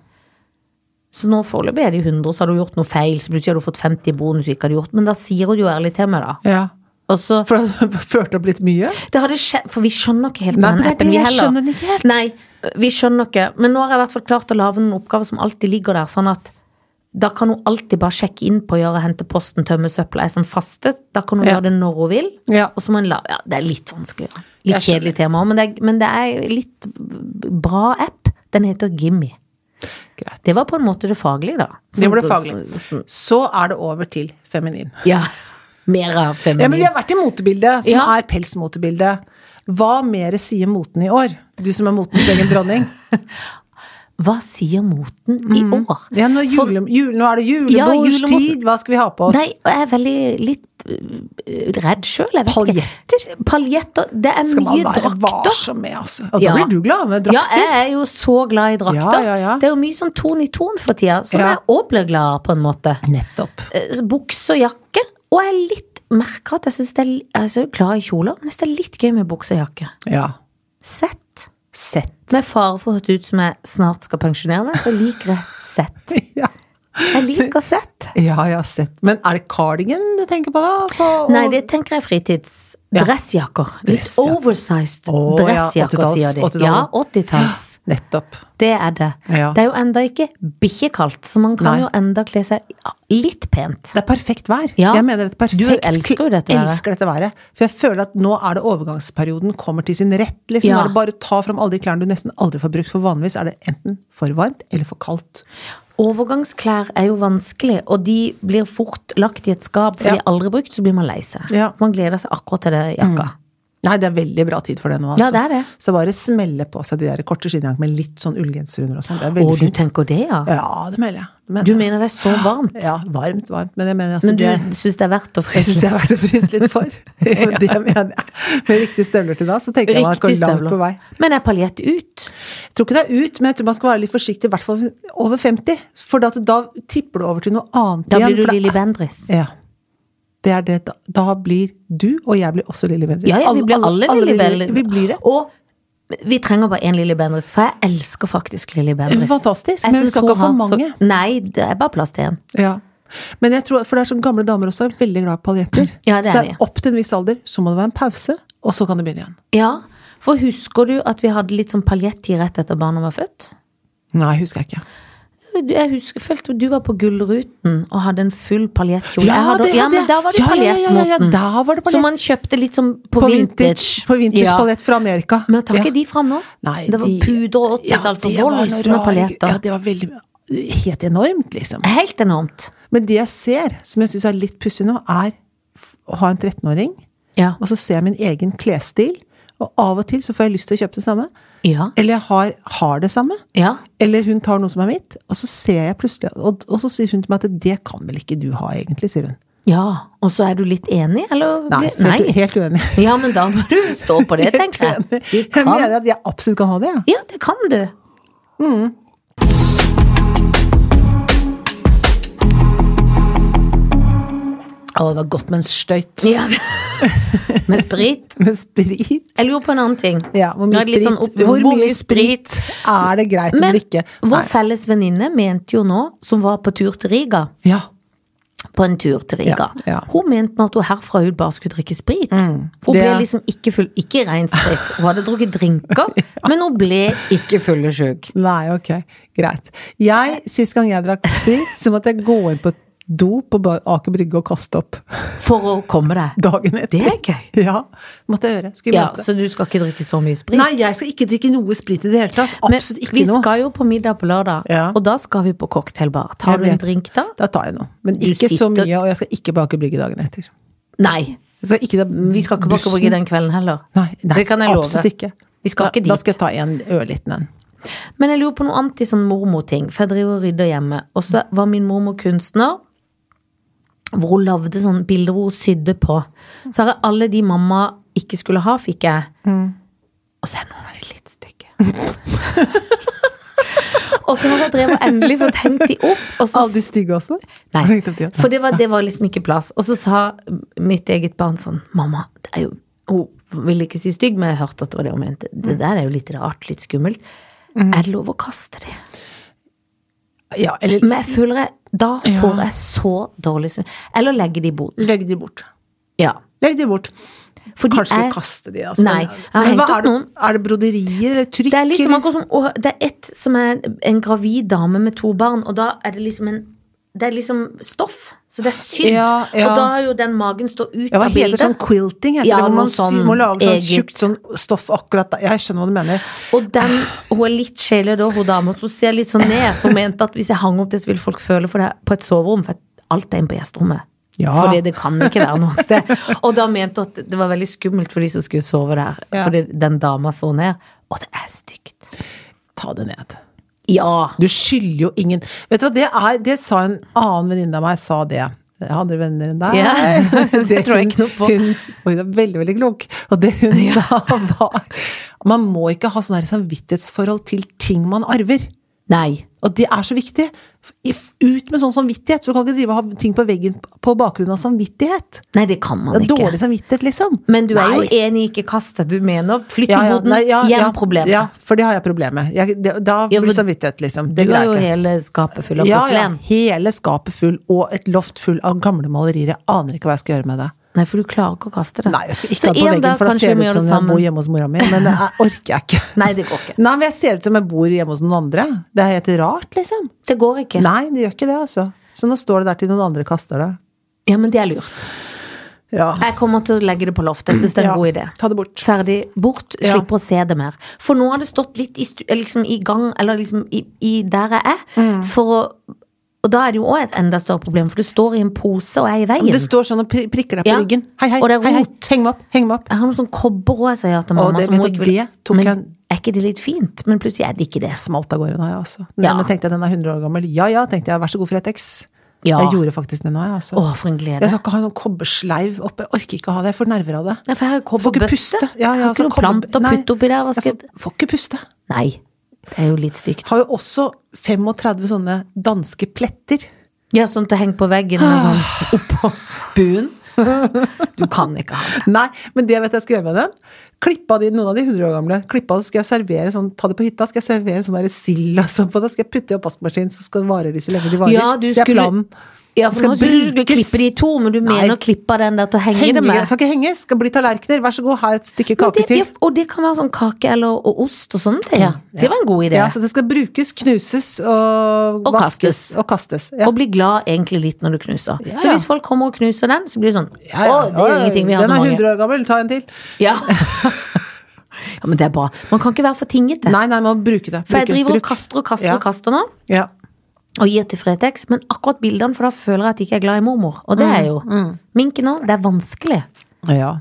Speaker 1: Så nå foreløpig er det 100, så har du gjort noe feil, så plutselig har du fått 50 i bonus du ikke hadde gjort, men da sier hun det jo ærlig til meg, da.
Speaker 2: ja.
Speaker 1: Og så
Speaker 2: For det har ført opp litt mye?
Speaker 1: Det hadde skjedd, for vi skjønner ikke helt
Speaker 2: Nei,
Speaker 1: på
Speaker 2: men
Speaker 1: den
Speaker 2: det er
Speaker 1: appen,
Speaker 2: det
Speaker 1: vi
Speaker 2: jeg
Speaker 1: heller.
Speaker 2: skjønner den ikke helt.
Speaker 1: Nei, vi skjønner ikke. Men nå har jeg i hvert fall klart å lage noen oppgaver som alltid ligger der, sånn at da kan hun alltid bare sjekke inn på å gjøre hente posten, tømme søpla, er sånn faste. Da kan hun
Speaker 2: Ja.
Speaker 1: gjøre det når hun vil.
Speaker 2: Ja.
Speaker 1: Og så må hun la Ja, det er litt vanskelig. da. Litt
Speaker 2: Jeg skjønner.
Speaker 1: kjedelig tema òg, men, det er- men det er litt bra app. Den heter Gimmi.
Speaker 2: Greit.
Speaker 1: Det var på en måte det faglige, da.
Speaker 2: Det var det
Speaker 1: Som-
Speaker 2: faglige.
Speaker 1: som-
Speaker 2: Så er det over til feminin.
Speaker 1: Ja. Mer av feminin.
Speaker 2: Ja, men vi har vært i motebildet, som
Speaker 1: Ja.
Speaker 2: er pelsmotebildet. Hva mer sier moten i år? Du som er motens egen dronning.
Speaker 1: Hva sier moten i
Speaker 2: Mm.
Speaker 1: år?
Speaker 2: Ja, nå, er jule, jul, nå er det
Speaker 1: Ja,
Speaker 2: julebordstid, hva skal vi ha på oss?
Speaker 1: Nei, og jeg er veldig litt litt øh, redd sjøl. jeg vet ikke.
Speaker 2: Paljetter?
Speaker 1: Paljetter. Det er
Speaker 2: Skal man
Speaker 1: mye
Speaker 2: være
Speaker 1: drakter.
Speaker 2: varsom med, altså. Og da
Speaker 1: Ja.
Speaker 2: blir du glad med drakter.
Speaker 1: Ja, jeg er jo så glad i drakter.
Speaker 2: Ja, ja, ja.
Speaker 1: Det er jo mye sånn ton i ton for tida, som
Speaker 2: Ja.
Speaker 1: jeg òg blir glad av, på en måte.
Speaker 2: Nettopp.
Speaker 1: Eh, så Bukse og jakke. Og jeg er litt merker at jeg syns det er Jeg er så glad i kjoler, men jeg synes det er litt gøy med bukse og jakke.
Speaker 2: Ja.
Speaker 1: Sett.
Speaker 2: Sett.
Speaker 1: Med fare for å høres ut som jeg snart skal pensjonere meg, så liker jeg sett.
Speaker 2: Ja.
Speaker 1: Jeg liker sett.
Speaker 2: ja, ja, sett. Men er det cardigan du tenker på, da? På,
Speaker 1: Nei, det tenker jeg er fritids.
Speaker 2: Ja.
Speaker 1: Dressjakker. Litt
Speaker 2: Dressjakker.
Speaker 1: oversized
Speaker 2: Å, ja,
Speaker 1: dressjakker,
Speaker 2: 80-talls,
Speaker 1: sier de.
Speaker 2: 80-talls.
Speaker 1: Ja, 80-talls.
Speaker 2: Nettopp.
Speaker 1: Det er det.
Speaker 2: Ja.
Speaker 1: Det er jo enda ikke bikkjekaldt, så man kan
Speaker 2: Nei.
Speaker 1: jo enda kle seg litt pent.
Speaker 2: Det er perfekt vær.
Speaker 1: Ja.
Speaker 2: Jeg mener det er perfekt.
Speaker 1: Du elsker jo dette været.
Speaker 2: elsker dette været. For jeg føler at nå er det overgangsperioden kommer til sin rett. Liksom.
Speaker 1: Ja.
Speaker 2: Nå er det bare å ta fram alle de klærne du nesten aldri får brukt, for vanligvis er det enten for varmt eller for kaldt.
Speaker 1: Overgangsklær er jo vanskelig, og de blir fort lagt i et skap, for
Speaker 2: Ja.
Speaker 1: de er aldri brukt, så blir man lei seg.
Speaker 2: Ja. Mm.
Speaker 1: Man gleder seg akkurat til det jakka.
Speaker 2: Nei, det er veldig bra tid for det nå, altså.
Speaker 1: Ja, det er det.
Speaker 2: Så bare smelle på seg de der korte skinnjakkene med litt sånn ullgenser under og sånn. Det er
Speaker 1: Å,
Speaker 2: veldig
Speaker 1: du
Speaker 2: fint.
Speaker 1: tenker det, ja?
Speaker 2: Ja, det mener jeg. Det mener
Speaker 1: Du
Speaker 2: jeg.
Speaker 1: mener det er så varmt?
Speaker 2: Ja, varmt, varmt. Men jeg mener altså
Speaker 1: Men du
Speaker 2: det
Speaker 1: syns det er verdt å
Speaker 2: Jeg syns
Speaker 1: fryse?
Speaker 2: jeg har vært å fryse litt for. Det mener jeg. Med riktige støvler til da, så tenker jeg man går
Speaker 1: Riktig
Speaker 2: langt på vei.
Speaker 1: støvler. Men er paljett ut?
Speaker 2: Jeg tror ikke det er ut, men jeg tror man skal være litt forsiktig, i hvert fall over 50. For da, da tipper du over til noe annet
Speaker 1: Da blir du
Speaker 2: for det-
Speaker 1: Lilly Bendriss.
Speaker 2: Ja. Det er det. Da, da blir du, og jeg blir også Lilly Bendriss.
Speaker 1: Ja, ja, vi blir alle, Lilly Bendriss.
Speaker 2: Vi blir det.
Speaker 1: Og vi trenger bare én Lilly Bendriss, for jeg elsker faktisk Lilly Bendriss.
Speaker 2: Eh, Fantastisk,
Speaker 1: Jeg
Speaker 2: men vi
Speaker 1: synes
Speaker 2: skal ikke
Speaker 1: hun
Speaker 2: ha
Speaker 1: har
Speaker 2: for mange.
Speaker 1: Så, nei, det er bare plass til én.
Speaker 2: Ja. Men jeg tror, for det er sånn gamle damer også, er veldig glad i paljetter.
Speaker 1: Ja, det
Speaker 2: så
Speaker 1: er
Speaker 2: det
Speaker 1: de.
Speaker 2: er opp til en viss alder, så må det være en pause, og så kan det begynne igjen.
Speaker 1: Ja, for husker du at vi hadde litt sånn paljettid rett etter barna var født?
Speaker 2: Nei, husker jeg ikke.
Speaker 1: Jeg husker, følte du var på Gullruten og hadde en full paljettkjole.
Speaker 2: Ja,
Speaker 1: Jeg hadde-
Speaker 2: det
Speaker 1: ja,
Speaker 2: hadde
Speaker 1: men
Speaker 2: jeg.
Speaker 1: da var det
Speaker 2: Ja, ja, ja, ja, ja,
Speaker 1: paljettmåten.
Speaker 2: da var det
Speaker 1: Så
Speaker 2: paljett.
Speaker 1: man kjøpte litt sånn på,
Speaker 2: På vintage,
Speaker 1: vintage.
Speaker 2: på vintage
Speaker 1: Ja.
Speaker 2: paljett fra Amerika.
Speaker 1: Men tar
Speaker 2: Ja.
Speaker 1: ikke de fram nå?
Speaker 2: Nei,
Speaker 1: det var
Speaker 2: de-
Speaker 1: puder og altså.
Speaker 2: Ja,
Speaker 1: åttetall, så
Speaker 2: det var noe
Speaker 1: voldsomme
Speaker 2: rar-
Speaker 1: paljetter.
Speaker 2: Ja, det var veldig Helt enormt, liksom.
Speaker 1: Helt enormt.
Speaker 2: Men det jeg ser, som jeg syns er litt pussig nå, er f- å ha en 13-åring,
Speaker 1: Ja.
Speaker 2: og så ser jeg min egen klesstil, og av og til så får jeg lyst til å kjøpe det samme.
Speaker 1: Ja.
Speaker 2: Eller jeg har, har det samme.
Speaker 1: ja.
Speaker 2: Eller hun tar noe som er mitt, og så ser jeg plutselig Og, og så sier hun til meg at 'det kan vel ikke du ha, egentlig', sier hun.
Speaker 1: Ja, og så er du litt enig, eller?
Speaker 2: Nei,
Speaker 1: blir-
Speaker 2: helt, helt uenig.
Speaker 1: Ja, men da må du stå på det, tenker jeg.
Speaker 2: Helt uenig.
Speaker 1: De
Speaker 2: Jeg
Speaker 1: kan-
Speaker 2: mener at jeg absolutt kan ha det, jeg.
Speaker 1: Ja, det kan du.
Speaker 2: Å, det var godt med en støyt.
Speaker 1: Ja. Med sprit.
Speaker 2: Med sprit.
Speaker 1: Jeg lurer på en annen ting.
Speaker 2: Ja, hvor
Speaker 1: Nå
Speaker 2: mye
Speaker 1: er det litt
Speaker 2: sprit,
Speaker 1: sånn opp-
Speaker 2: hvor mye sprit er det greit å
Speaker 1: Men
Speaker 2: drikke?
Speaker 1: vår
Speaker 2: Nei.
Speaker 1: felles venninne mente jo nå, som var på tur til Riga,
Speaker 2: Ja.
Speaker 1: på en tur til Riga.
Speaker 2: Ja, ja.
Speaker 1: Hun mente nå at hun herfra ut bare skulle drikke sprit. Hun
Speaker 2: det-
Speaker 1: ble liksom ikke full, ikke ren sprit. Hun hadde drukket drinker, men hun ble ikke fyllesyk.
Speaker 2: Nei, ok. Greit. Jeg, Sist gang jeg drakk sprit, så måtte jeg gå inn på do på Ba- Aker Brygge og kaste opp
Speaker 1: For å komme deg.
Speaker 2: dagen etter.
Speaker 1: Det er gøy.
Speaker 2: Ja, måtte jeg gjøre. Skulle i
Speaker 1: Ja,
Speaker 2: møte.
Speaker 1: så du skal ikke drikke så mye sprit?
Speaker 2: Nei, jeg skal ikke drikke noe sprit i det hele tatt.
Speaker 1: Men
Speaker 2: Absolutt
Speaker 1: vi
Speaker 2: ikke noe.
Speaker 1: skal jo på middag på lørdag,
Speaker 2: Ja.
Speaker 1: og da skal vi på cocktailbar. Tar
Speaker 2: Jeg
Speaker 1: du en
Speaker 2: vet.
Speaker 1: drink da?
Speaker 2: Da tar jeg noe. Men
Speaker 1: Du
Speaker 2: ikke så
Speaker 1: sitter-
Speaker 2: mye, og jeg skal ikke på Aker Brygge dagen etter.
Speaker 1: Nei,
Speaker 2: Jeg skal ikke da,
Speaker 1: vi skal ikke på Aker Brygge den kvelden heller.
Speaker 2: Nei, nei,
Speaker 1: det kan jeg love.
Speaker 2: absolutt ikke.
Speaker 1: Vi skal
Speaker 2: da,
Speaker 1: ikke
Speaker 2: Da
Speaker 1: dit.
Speaker 2: skal jeg ta en ørliten en.
Speaker 1: Men jeg lurer på noe annet i sånn mormorting, for jeg driver og rydder hjemme. Og så var min mormor kunstner, hvor hun lagde sånne bilder hvor hun sydde på. Så har jeg alle de mamma ikke skulle ha, fikk jeg. Og så er noen av de litt stygge. og så har jeg drevet og endelig fått hengt de opp, og så
Speaker 2: Alle de stygge også? Har
Speaker 1: Nei,
Speaker 2: du tenkt opp de, ja?
Speaker 1: for det var, det var liksom ikke plass. Og så sa mitt eget barn sånn Mamma, det er jo Hun ville ikke si stygg, men jeg hørte at det var det hun mente.
Speaker 2: Mm.
Speaker 1: Det der er jo litt rart, litt skummelt. Er det lov å kaste det?
Speaker 2: Ja, eller
Speaker 1: Men jeg føler jeg Da får jeg så dårlig samvittighet. Eller legge de i boden.
Speaker 2: legg de bort.
Speaker 1: Ja.
Speaker 2: Legg de bort.
Speaker 1: Fordi
Speaker 2: Kanskje
Speaker 1: jeg-
Speaker 2: ikke kaste de, altså.
Speaker 1: Nei,
Speaker 2: Men-
Speaker 1: jeg har
Speaker 2: Men hva
Speaker 1: hengt opp
Speaker 2: er det,
Speaker 1: noen.
Speaker 2: Er det broderier eller trykk?
Speaker 1: Det er liksom
Speaker 2: eller-
Speaker 1: akkurat som å, Det er ett som er en gravid dame med to barn, og da er det liksom en det er liksom stoff, så det er sydd.
Speaker 2: Ja, ja.
Speaker 1: Og da er jo den magen står ut
Speaker 2: ja, hva
Speaker 1: av
Speaker 2: heter
Speaker 1: bildet.
Speaker 2: sånn quilting? Heter
Speaker 1: Ja,
Speaker 2: det, hvor
Speaker 1: noe
Speaker 2: man
Speaker 1: sånn
Speaker 2: sy- må lage sånn
Speaker 1: eget.
Speaker 2: tjukt sånn stoff akkurat der. Jeg skjønner hva du mener.
Speaker 1: Og den, hun er litt sjelere da, hun dama, så hun ser litt sånn ned. Så hun mente at hvis jeg hang opp det, så ville folk føle for det på et soverom. For alt er inne på gjesterommet.
Speaker 2: Ja.
Speaker 1: Fordi det kan ikke være noe sted. Og da mente hun at det var veldig skummelt for de som skulle sove der.
Speaker 2: Ja.
Speaker 1: Fordi den dama så ned. Og det er stygt.
Speaker 2: Ta det ned.
Speaker 1: Ja.
Speaker 2: Du skylder jo ingen Vet du hva, det er Det sa en annen venninne av meg, sa det. Jeg hadde venner enn deg.
Speaker 1: Ja, det tror jeg ikke noe på.
Speaker 2: Hun, hun er veldig, veldig klok. Og det hun sa, var Man må ikke ha sånn her samvittighetsforhold til ting man arver.
Speaker 1: Nei.
Speaker 2: Og det er så viktig. If- Ut med sånn samvittighet. For du kan ikke drive og ha ting på veggen på bakgrunn av samvittighet.
Speaker 1: Nei, det kan man
Speaker 2: Det er
Speaker 1: ikke.
Speaker 2: dårlig samvittighet, liksom.
Speaker 1: Men du er jo
Speaker 2: Nei.
Speaker 1: enig i ikke kaste, du mener. Flytt i
Speaker 2: Ja, ja,
Speaker 1: boden,
Speaker 2: nei, ja,
Speaker 1: hjem
Speaker 2: ja,
Speaker 1: problemet.
Speaker 2: Ja, for det har jeg problem med. Jeg, det, da
Speaker 1: Ja,
Speaker 2: blir
Speaker 1: for
Speaker 2: samvittighet, liksom. Det
Speaker 1: Du har
Speaker 2: greier
Speaker 1: jo
Speaker 2: jeg ikke.
Speaker 1: hele skapet full av
Speaker 2: Ja, ja.
Speaker 1: porselen.
Speaker 2: Hele skapet full, og et loft full av gamle malerier. Jeg aner ikke hva jeg skal gjøre med det.
Speaker 1: Nei, for du klarer ikke å kaste det.
Speaker 2: Nei, jeg skal ikke
Speaker 1: Så
Speaker 2: ha det på
Speaker 1: en
Speaker 2: veggen,
Speaker 1: dag
Speaker 2: for da
Speaker 1: kanskje
Speaker 2: ser
Speaker 1: vi må
Speaker 2: det ut
Speaker 1: gjøre
Speaker 2: som
Speaker 1: det
Speaker 2: jeg bor
Speaker 1: sammen.
Speaker 2: hjemme hos mora mi. Men det er- orker jeg ikke.
Speaker 1: Nei, det går ikke.
Speaker 2: Nei, men jeg ser ut som jeg bor hjemme hos noen andre. Det er helt rart, liksom.
Speaker 1: Det går ikke.
Speaker 2: Nei, det gjør ikke det, altså. Så nå står det der til noen andre kaster det.
Speaker 1: Ja, men det er lurt.
Speaker 2: Ja.
Speaker 1: Jeg kommer til å legge det på loftet. Jeg syns det er en god idé.
Speaker 2: Ta det bort.
Speaker 1: Ferdig, bort,
Speaker 2: Ja.
Speaker 1: slipper å se det mer. For nå har det stått litt i, stu- liksom, i gang, eller liksom i, i der jeg er,
Speaker 2: Mm.
Speaker 1: for å Og da er det jo òg et enda større problem, for det står i en pose og er i veien.
Speaker 2: Det står sånn og pri- prikker deg på
Speaker 1: Ja.
Speaker 2: ryggen. Hei, hei,
Speaker 1: Og det er
Speaker 2: hei, hei.
Speaker 1: rot.
Speaker 2: Heng meg opp, heng meg opp.
Speaker 1: Jeg har noe sånn kobber òg, jeg sier jeg til mamma.
Speaker 2: det-
Speaker 1: så må
Speaker 2: vet du,
Speaker 1: jeg vel-
Speaker 2: det tok
Speaker 1: men
Speaker 2: jeg-
Speaker 1: er ikke det litt fint? Men plutselig er det ikke det.
Speaker 2: Smalt av gårde nå, jeg, altså. Nei,
Speaker 1: Ja.
Speaker 2: Men tenkte jeg, den er 100 år gammel. Ja ja, tenkte jeg. Vær så god for et X.
Speaker 1: Ja.
Speaker 2: Jeg gjorde faktisk det nå, jeg, altså.
Speaker 1: Å, for en glede.
Speaker 2: Jeg skal ikke ha noen kobbersleiv oppe. Jeg orker ikke ha det. Jeg får nerver av det.
Speaker 1: Nei, for jeg har jo
Speaker 2: Får ikke
Speaker 1: kobberbøtte.
Speaker 2: puste. Ja,
Speaker 1: Jeg
Speaker 2: ja,
Speaker 1: har
Speaker 2: så
Speaker 1: ikke noe
Speaker 2: kobber-
Speaker 1: plant å
Speaker 2: Nei.
Speaker 1: putte oppi der. Hva skal
Speaker 2: Jeg
Speaker 1: jeg
Speaker 2: får, får ikke puste.
Speaker 1: Nei. Det er jo litt stygt.
Speaker 2: Har jo også 35 sånne danske pletter.
Speaker 1: Ja, sånn til å henge på veggen og
Speaker 2: Ah.
Speaker 1: sånn oppå buen. Du kan ikke ha det.
Speaker 2: Nei, men det vet jeg skal gjøre med dem. Klippa de, noen av de 100 år gamle. Klippa, så skal jeg servere sånn, ta det på hytta, skal jeg servere sånn der sild og sånn på det. Skal jeg putte i oppvaskmaskinen, så skal varer de så lenge de varer.
Speaker 1: Ja, du
Speaker 2: det er
Speaker 1: skulle-
Speaker 2: planen.
Speaker 1: Ja, for
Speaker 2: Skal
Speaker 1: nå skulle du skulle
Speaker 2: brukes.
Speaker 1: klippe de i to, men du
Speaker 2: Nei.
Speaker 1: mener å klippe av den der til å henge
Speaker 2: Henge,
Speaker 1: det med.
Speaker 2: skal ikke henges, skal bli tallerkener. Vær så god, ha et stykke
Speaker 1: Men
Speaker 2: kake
Speaker 1: det, ja,
Speaker 2: til.
Speaker 1: og det kan være sånn kake eller og ost og sånne ting.
Speaker 2: Ja, ja.
Speaker 1: Det var en god idé.
Speaker 2: Ja, altså, så det skal brukes, knuses og,
Speaker 1: Og
Speaker 2: vaskes.
Speaker 1: kastes.
Speaker 2: Og kastes. Ja.
Speaker 1: Og bli glad egentlig litt når du knuser.
Speaker 2: Ja,
Speaker 1: Så
Speaker 2: ja.
Speaker 1: hvis folk kommer og knuser den, så blir det sånn
Speaker 2: Ja, ja.
Speaker 1: Å, det gjør
Speaker 2: Oi,
Speaker 1: ingenting, vi har
Speaker 2: Den
Speaker 1: så
Speaker 2: er
Speaker 1: mange.
Speaker 2: 100 år gammel, ta en til.
Speaker 1: Ja. ja, men det er bra. Man kan ikke være for tingete.
Speaker 2: Nei, nei, man må bruke det.
Speaker 1: For jeg
Speaker 2: Bruke,
Speaker 1: driver og
Speaker 2: bruk.
Speaker 1: kaster og kaster
Speaker 2: Ja.
Speaker 1: og kaster nå,
Speaker 2: Ja.
Speaker 1: og gir til Fretex, men akkurat bildene, for da føler jeg at jeg ikke er glad i mormor. Og det
Speaker 2: Mm,
Speaker 1: er jo Minken òg. Det er vanskelig.
Speaker 2: ja.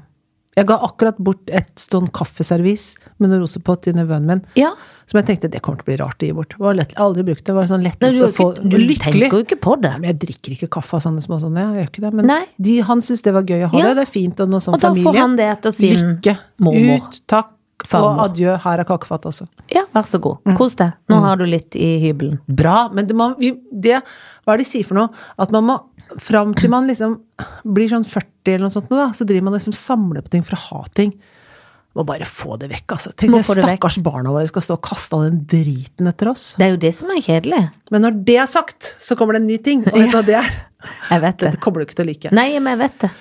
Speaker 2: Jeg ga akkurat bort et sånn kaffeservis med noen roser på til nevøen min.
Speaker 1: Ja.
Speaker 2: Som jeg tenkte det kommer til å bli rart å gi bort. Det var lett, aldri brukt det. Det var en sånn
Speaker 1: Nei,
Speaker 2: lettelse
Speaker 1: du,
Speaker 2: å få
Speaker 1: har jo ikke, du tenker jo ikke på det.
Speaker 2: Nei, men jeg drikker ikke kaffe av sånne små sånne. Jeg gjør ikke det. Men
Speaker 1: Nei.
Speaker 2: de, han syntes det var gøy å ha
Speaker 1: Ja.
Speaker 2: det. Det er fint og noe sånn
Speaker 1: Og da
Speaker 2: familie.
Speaker 1: får han det til sin
Speaker 2: Lykke.
Speaker 1: mormor.
Speaker 2: Ut, takk. Og
Speaker 1: Farmor.
Speaker 2: adjø. Her er kakefat også.
Speaker 1: Ja, vær så god.
Speaker 2: Mm.
Speaker 1: Kos deg. Nå har du litt i hybelen.
Speaker 2: Bra. Men det, man, vi- det Hva er det de sier for noe? At man må Fram til man liksom blir sånn 40 eller noe sånt, nå da, så driver man og liksom samler på ting for å ha ting. Må bare få det vekk, altså. Tenk
Speaker 1: Må
Speaker 2: deg
Speaker 1: få det vekk.
Speaker 2: stakkars barna våre skal stå og kaste all den driten etter oss.
Speaker 1: Det er jo det som er kjedelig.
Speaker 2: Men når det er sagt, så kommer det en ny ting. Og vet du hva det er?
Speaker 1: Jeg vet det.
Speaker 2: Dette kommer du ikke til å like.
Speaker 1: Nei, men jeg vet det.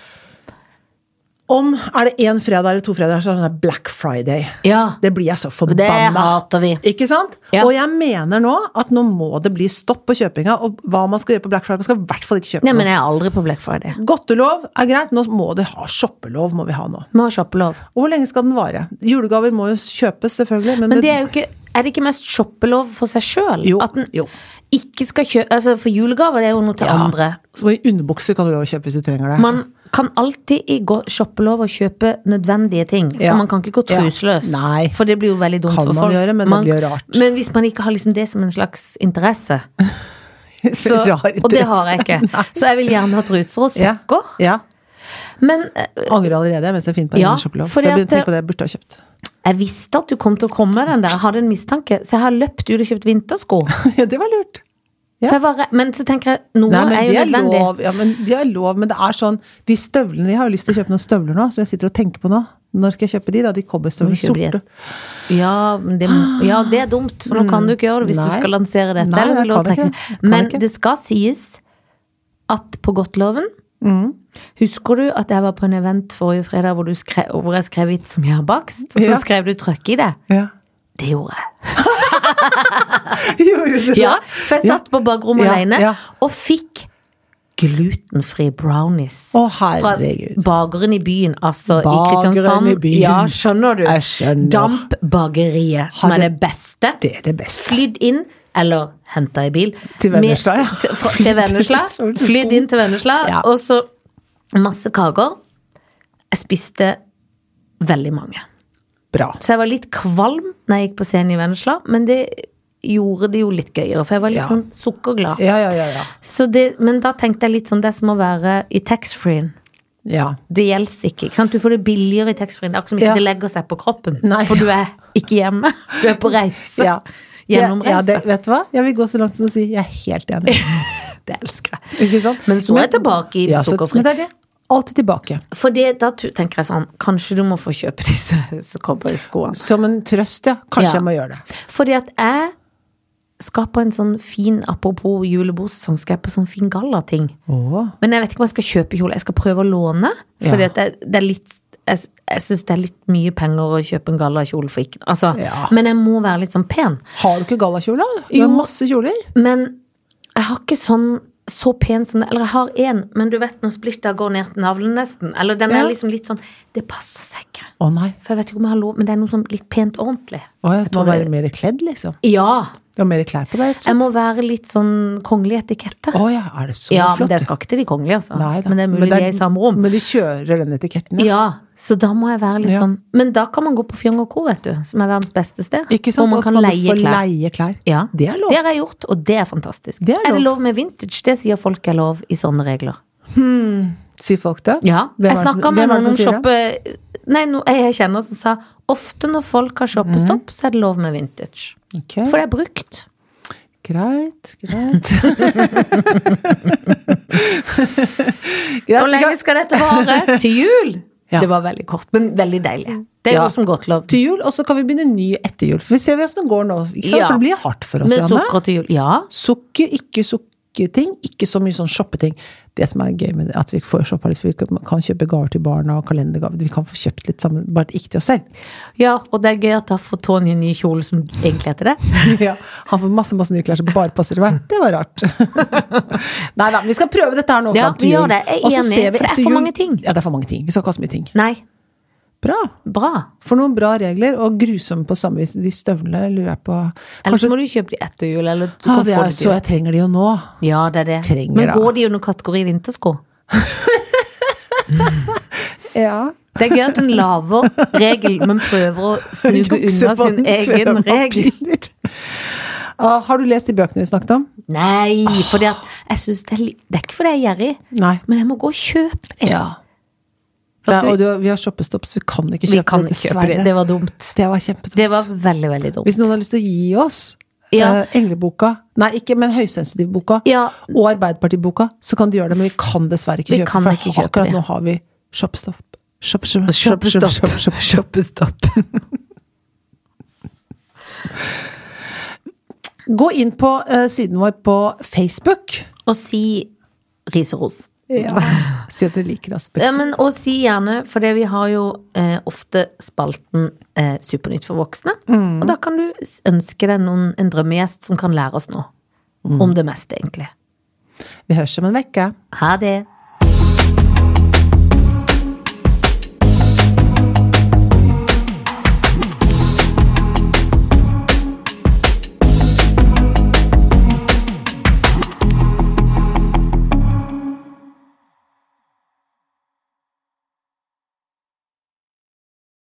Speaker 2: Om er det én fredag eller to fredager, så er det sånn der Black Friday.
Speaker 1: Ja.
Speaker 2: Det blir jeg så
Speaker 1: Det
Speaker 2: forbanna.
Speaker 1: hater vi.
Speaker 2: Ikke sant?
Speaker 1: Ja.
Speaker 2: Og jeg mener nå at nå må det bli stopp på kjøpinga. Og hva man skal gjøre på Black Friday, man skal i hvert fall ikke kjøpe
Speaker 1: Nei,
Speaker 2: noe.
Speaker 1: men jeg er aldri på Black Friday.
Speaker 2: Godtelov er greit, nå må de ha shoppelov. må vi ha nå.
Speaker 1: Må ha shoppelov.
Speaker 2: Og hvor lenge skal den vare? Julegaver må jo kjøpes, selvfølgelig. Men,
Speaker 1: Men det er jo ikke Er det ikke mest shoppelov for seg sjøl?
Speaker 2: Jo,
Speaker 1: At en
Speaker 2: jo.
Speaker 1: ikke skal kjøpe Altså, for julegaver det er jo noe til
Speaker 2: Ja.
Speaker 1: andre.
Speaker 2: Så må underbukser kan du lov å kjøpe hvis du trenger det.
Speaker 1: Man kan alltid i gå- shoppelov og kjøpe nødvendige ting.
Speaker 2: Ja.
Speaker 1: For man kan ikke gå
Speaker 2: Ja.
Speaker 1: truseløs.
Speaker 2: Nei.
Speaker 1: For det blir jo veldig dumt
Speaker 2: Kan
Speaker 1: for
Speaker 2: man
Speaker 1: folk.
Speaker 2: gjøre, men det blir jo rart.
Speaker 1: Men hvis man ikke har liksom det som en slags interesse,
Speaker 2: Så
Speaker 1: så,
Speaker 2: rar
Speaker 1: og det har jeg ikke,
Speaker 2: interesse. Nei.
Speaker 1: så jeg vil gjerne ha truser og
Speaker 2: Ja.
Speaker 1: sokker.
Speaker 2: Ja.
Speaker 1: Men eh,
Speaker 2: Angrer allerede mens jeg finner på en
Speaker 1: Ja,
Speaker 2: shoppelov.
Speaker 1: fordi
Speaker 2: Jeg
Speaker 1: at-
Speaker 2: begynte å tenke på det jeg burde ha kjøpt.
Speaker 1: jeg visste at du kom til å komme med den der, jeg hadde en mistanke, så jeg har løpt ut og kjøpt vintersko.
Speaker 2: ja, det var lurt. Ja.
Speaker 1: For jeg var redd- men så tenker jeg, noe
Speaker 2: Nei, men
Speaker 1: er
Speaker 2: det
Speaker 1: jo
Speaker 2: er
Speaker 1: nødvendig.
Speaker 2: lov. Ja, men det er lov, men det er sånn De støvlene Jeg har jo lyst til å kjøpe noen støvler nå, som jeg sitter og tenker på nå. Når skal jeg kjøpe de, da? De
Speaker 1: Må
Speaker 2: cowboystøvlene.
Speaker 1: kjøpe de.
Speaker 2: Sorte.
Speaker 1: Ja, men det, ja, det er dumt, for nå kan du ikke gjøre det hvis
Speaker 2: Nei.
Speaker 1: du skal lansere dette.
Speaker 2: Nei,
Speaker 1: eller så
Speaker 2: jeg
Speaker 1: lov å
Speaker 2: kan
Speaker 1: trekke.
Speaker 2: ikke. Kan
Speaker 1: Men
Speaker 2: ikke.
Speaker 1: det skal sies at på Godtloven
Speaker 2: Mm.
Speaker 1: Husker du at jeg var på en event forrige fredag hvor, du skrev, hvor jeg skrev hit som jeg har bakst? Og så
Speaker 2: Ja.
Speaker 1: skrev du 'trøkk i det'.
Speaker 2: Ja.
Speaker 1: Det gjorde jeg.
Speaker 2: Gjorde du det?
Speaker 1: Ja, for jeg satt på bakrommet
Speaker 2: Ja,
Speaker 1: alene
Speaker 2: ja.
Speaker 1: og fikk glutenfri brownies.
Speaker 2: Å,
Speaker 1: fra
Speaker 2: herregud.
Speaker 1: bakeren i byen, altså
Speaker 2: Bakeren
Speaker 1: i Kristiansand.
Speaker 2: i byen.
Speaker 1: Ja, skjønner du?
Speaker 2: Jeg skjønner.
Speaker 1: Dampbakeriet, som
Speaker 2: Har
Speaker 1: er
Speaker 2: det-
Speaker 1: det beste.
Speaker 2: Det er det beste.
Speaker 1: Flydd inn, eller henta i bil.
Speaker 2: Til Vennesla, ja.
Speaker 1: Med- til- fra- Til Vennesla.
Speaker 2: Så du
Speaker 1: Flydd inn til Vennesla,
Speaker 2: Ja.
Speaker 1: og så masse kaker. Jeg spiste veldig mange.
Speaker 2: Bra.
Speaker 1: Så jeg var litt kvalm når jeg gikk på scenen i Vennesla, men det gjorde det jo litt gøyere, for jeg var litt
Speaker 2: Ja.
Speaker 1: sånn sukkerglad.
Speaker 2: Ja, ja, ja. ja.
Speaker 1: Så det, men da tenkte jeg litt sånn det som å være i taxfree-en.
Speaker 2: ja.
Speaker 1: Det gjelder ikke. ikke sant? Du får det billigere i taxfree-en. Det er akkurat som ikke
Speaker 2: Ja.
Speaker 1: det legger seg på kroppen.
Speaker 2: Nei.
Speaker 1: For du er ikke hjemme. Du er på reise.
Speaker 2: Ja.
Speaker 1: Gjennom
Speaker 2: Ja, ja,
Speaker 1: reise.
Speaker 2: det, vet du hva? Jeg vil gå så langt som å si jeg er helt enig.
Speaker 1: det, elsker jeg.
Speaker 2: Ikke sant?
Speaker 1: Men så er jeg tilbake i
Speaker 2: så-
Speaker 1: sukkerfri.
Speaker 2: Men det er det. Alltid tilbake.
Speaker 1: For det, da tu- tenker jeg sånn, kanskje du må få kjøpe disse cowboyskoene.
Speaker 2: Som en trøst, ja. Kanskje
Speaker 1: Ja.
Speaker 2: jeg må gjøre det.
Speaker 1: Fordi at jeg skal på en sånn fin, apropos julebordsesong, skal jeg på sånn fin gallating.
Speaker 2: Åh.
Speaker 1: Men jeg vet ikke om jeg skal kjøpe kjole. Jeg skal prøve å låne. Fordi
Speaker 2: Ja.
Speaker 1: at det, det er litt jeg, jeg syns det er litt mye penger å kjøpe en gallakjole for ikke altså,
Speaker 2: Ja.
Speaker 1: Men jeg må være litt sånn pen.
Speaker 2: Har du ikke gallakjole? da? Du
Speaker 1: Jo.
Speaker 2: har masse kjoler.
Speaker 1: Men jeg har ikke sånn så pen som det Eller jeg har én, men du vet når splitta går ned til navlen nesten. Eller den er
Speaker 2: Ja.
Speaker 1: liksom litt sånn Det passer seg ikke.
Speaker 2: Å nei.
Speaker 1: For jeg vet ikke om jeg har lov, men det er noe sånn litt pent og ordentlig.
Speaker 2: Å, jeg,
Speaker 1: Jeg
Speaker 2: du må
Speaker 1: tror det-
Speaker 2: være mer kledd, liksom.
Speaker 1: Ja.
Speaker 2: Du har mer klær på deg. rett og
Speaker 1: Jeg
Speaker 2: slett.
Speaker 1: må være litt sånn kongelig etikette.
Speaker 2: Å ja, er det så
Speaker 1: ja, men
Speaker 2: flott?
Speaker 1: det skal ikke til de kongelige, altså.
Speaker 2: Nei da.
Speaker 1: Men det er mulig
Speaker 2: det
Speaker 1: vi er i samme rom.
Speaker 2: Men de kjører den etiketten, ja.
Speaker 1: Ja, så da må jeg være litt
Speaker 2: Ja.
Speaker 1: sånn Men da kan man gå på Fjong og Co, vet du, som er verdens beste sted.
Speaker 2: Ikke sant?
Speaker 1: Hvor man
Speaker 2: Da
Speaker 1: kan
Speaker 2: skal du
Speaker 1: leie
Speaker 2: få
Speaker 1: klær.
Speaker 2: leie klær.
Speaker 1: Ja,
Speaker 2: Det er lov.
Speaker 1: Det har jeg gjort, og det er fantastisk.
Speaker 2: Det er
Speaker 1: det
Speaker 2: lov.
Speaker 1: lov med vintage? Det sier folk er lov i sånne regler.
Speaker 2: Sier folk det?
Speaker 1: Ja.
Speaker 2: Hvem er
Speaker 1: jeg
Speaker 2: det som-
Speaker 1: snakka med
Speaker 2: hvem er det
Speaker 1: noen
Speaker 2: som
Speaker 1: om
Speaker 2: sier det?
Speaker 1: shoppe... Nei, no, jeg kjenner som sa ofte når folk har
Speaker 2: Mhm.
Speaker 1: shoppestopp, så er det lov med vintage.
Speaker 2: Ok.
Speaker 1: For det er brukt.
Speaker 2: Greit, greit. greit.
Speaker 1: Hvor
Speaker 2: vi
Speaker 1: lenge
Speaker 2: kan-
Speaker 1: skal dette vare? Til jul?
Speaker 2: Ja.
Speaker 1: Det var veldig kort, men veldig deilig. Det er
Speaker 2: Ja.
Speaker 1: noe som godt lov.
Speaker 2: Til jul, og så kan vi begynne ny etter jul. For vi ser hvordan det går nå. Ikke sant?
Speaker 1: Ja.
Speaker 2: For det blir hardt for oss.
Speaker 1: Med
Speaker 2: Janne.
Speaker 1: sukker til jul. Ja.
Speaker 2: Sukker, ikke sukkerting, ikke så mye sånn shoppeting. Det som er gøy med det, at vi får shoppa litt, for vi kan kan kjøpe gaver til barna og kalendergaver. Vi kan få kjøpt litt sammen, bare ikke til oss selv.
Speaker 1: ja, og det er gøy at da får Tony en ny kjole som egentlig heter det.
Speaker 2: Ja, han får masse masse nye klær som bare passer til meg. Det var rart. Nei da, vi skal prøve dette her nå
Speaker 1: Ja,
Speaker 2: fram til
Speaker 1: vi
Speaker 2: jul.
Speaker 1: gjør det. Jeg er
Speaker 2: Og så
Speaker 1: enig,
Speaker 2: ser vi
Speaker 1: for det er
Speaker 2: etter
Speaker 1: for
Speaker 2: jul-
Speaker 1: mange ting.
Speaker 2: Ja, det er for mange ting. Vi skal ikke ha så mye ting.
Speaker 1: Nei,
Speaker 2: Bra.
Speaker 1: bra.
Speaker 2: For noen bra regler, og grusomme på samme vis. De støvlene lurer jeg på
Speaker 1: Eller
Speaker 2: Kanskje
Speaker 1: så må du kjøpe de etter jul, eller du
Speaker 2: ah,
Speaker 1: kan
Speaker 2: det
Speaker 1: få
Speaker 2: er,
Speaker 1: det
Speaker 2: Så
Speaker 1: til jul.
Speaker 2: jeg trenger de jo nå.
Speaker 1: Ja, det er det.
Speaker 2: Trenger
Speaker 1: Men
Speaker 2: da.
Speaker 1: går de under kategori vintersko?
Speaker 2: Ja.
Speaker 1: Det er gøy at hun lager regel, men prøver å snuge unna
Speaker 2: Jukse på
Speaker 1: sin
Speaker 2: den før
Speaker 1: egen
Speaker 2: man
Speaker 1: regel.
Speaker 2: begynner. Ah, har du lest de bøkene vi snakket om?
Speaker 1: Nei,
Speaker 2: Ah.
Speaker 1: fordi at jeg synes det er litt Det er ikke fordi jeg er gjerrig,
Speaker 2: Nei.
Speaker 1: men jeg må gå og kjøpe det.
Speaker 2: Ja.
Speaker 1: Da skal
Speaker 2: og
Speaker 1: vi,
Speaker 2: du, vi har shoppestopp, så vi kan ikke
Speaker 1: vi
Speaker 2: kjøpe
Speaker 1: kan
Speaker 2: det,
Speaker 1: ikke kjøpe det.
Speaker 2: dessverre.
Speaker 1: Det var dumt.
Speaker 2: Det var kjempedumt.
Speaker 1: Det var veldig, veldig dumt.
Speaker 2: Hvis noen har lyst til å gi oss
Speaker 1: Ja.
Speaker 2: eh, Engleboka, nei, ikke, men Høysensitivboka
Speaker 1: Ja.
Speaker 2: og Arbeiderpartiboka, så kan de gjøre det, men vi kan dessverre ikke
Speaker 1: Vi
Speaker 2: kjøpe,
Speaker 1: kan
Speaker 2: for
Speaker 1: ikke kjøpe
Speaker 2: akkurat
Speaker 1: det.
Speaker 2: nå har vi shoppestopp. Shop, shop, shop, shop, shop,
Speaker 1: Shoppestopp.
Speaker 2: shop.
Speaker 1: Shoppestopp.
Speaker 2: Gå inn på eh, siden vår på Facebook.
Speaker 1: Og si ris og ros.
Speaker 2: Ja. Si at dere liker oss
Speaker 1: Ja,
Speaker 2: best.
Speaker 1: men, og si gjerne, for det vi har jo eh, ofte spalten eh, Supernytt for voksne. Og da kan du s- ønske deg noen, en drømmegjest som kan lære oss noe. Om det meste, egentlig.
Speaker 2: Vi høres om en uke.
Speaker 1: Ha det.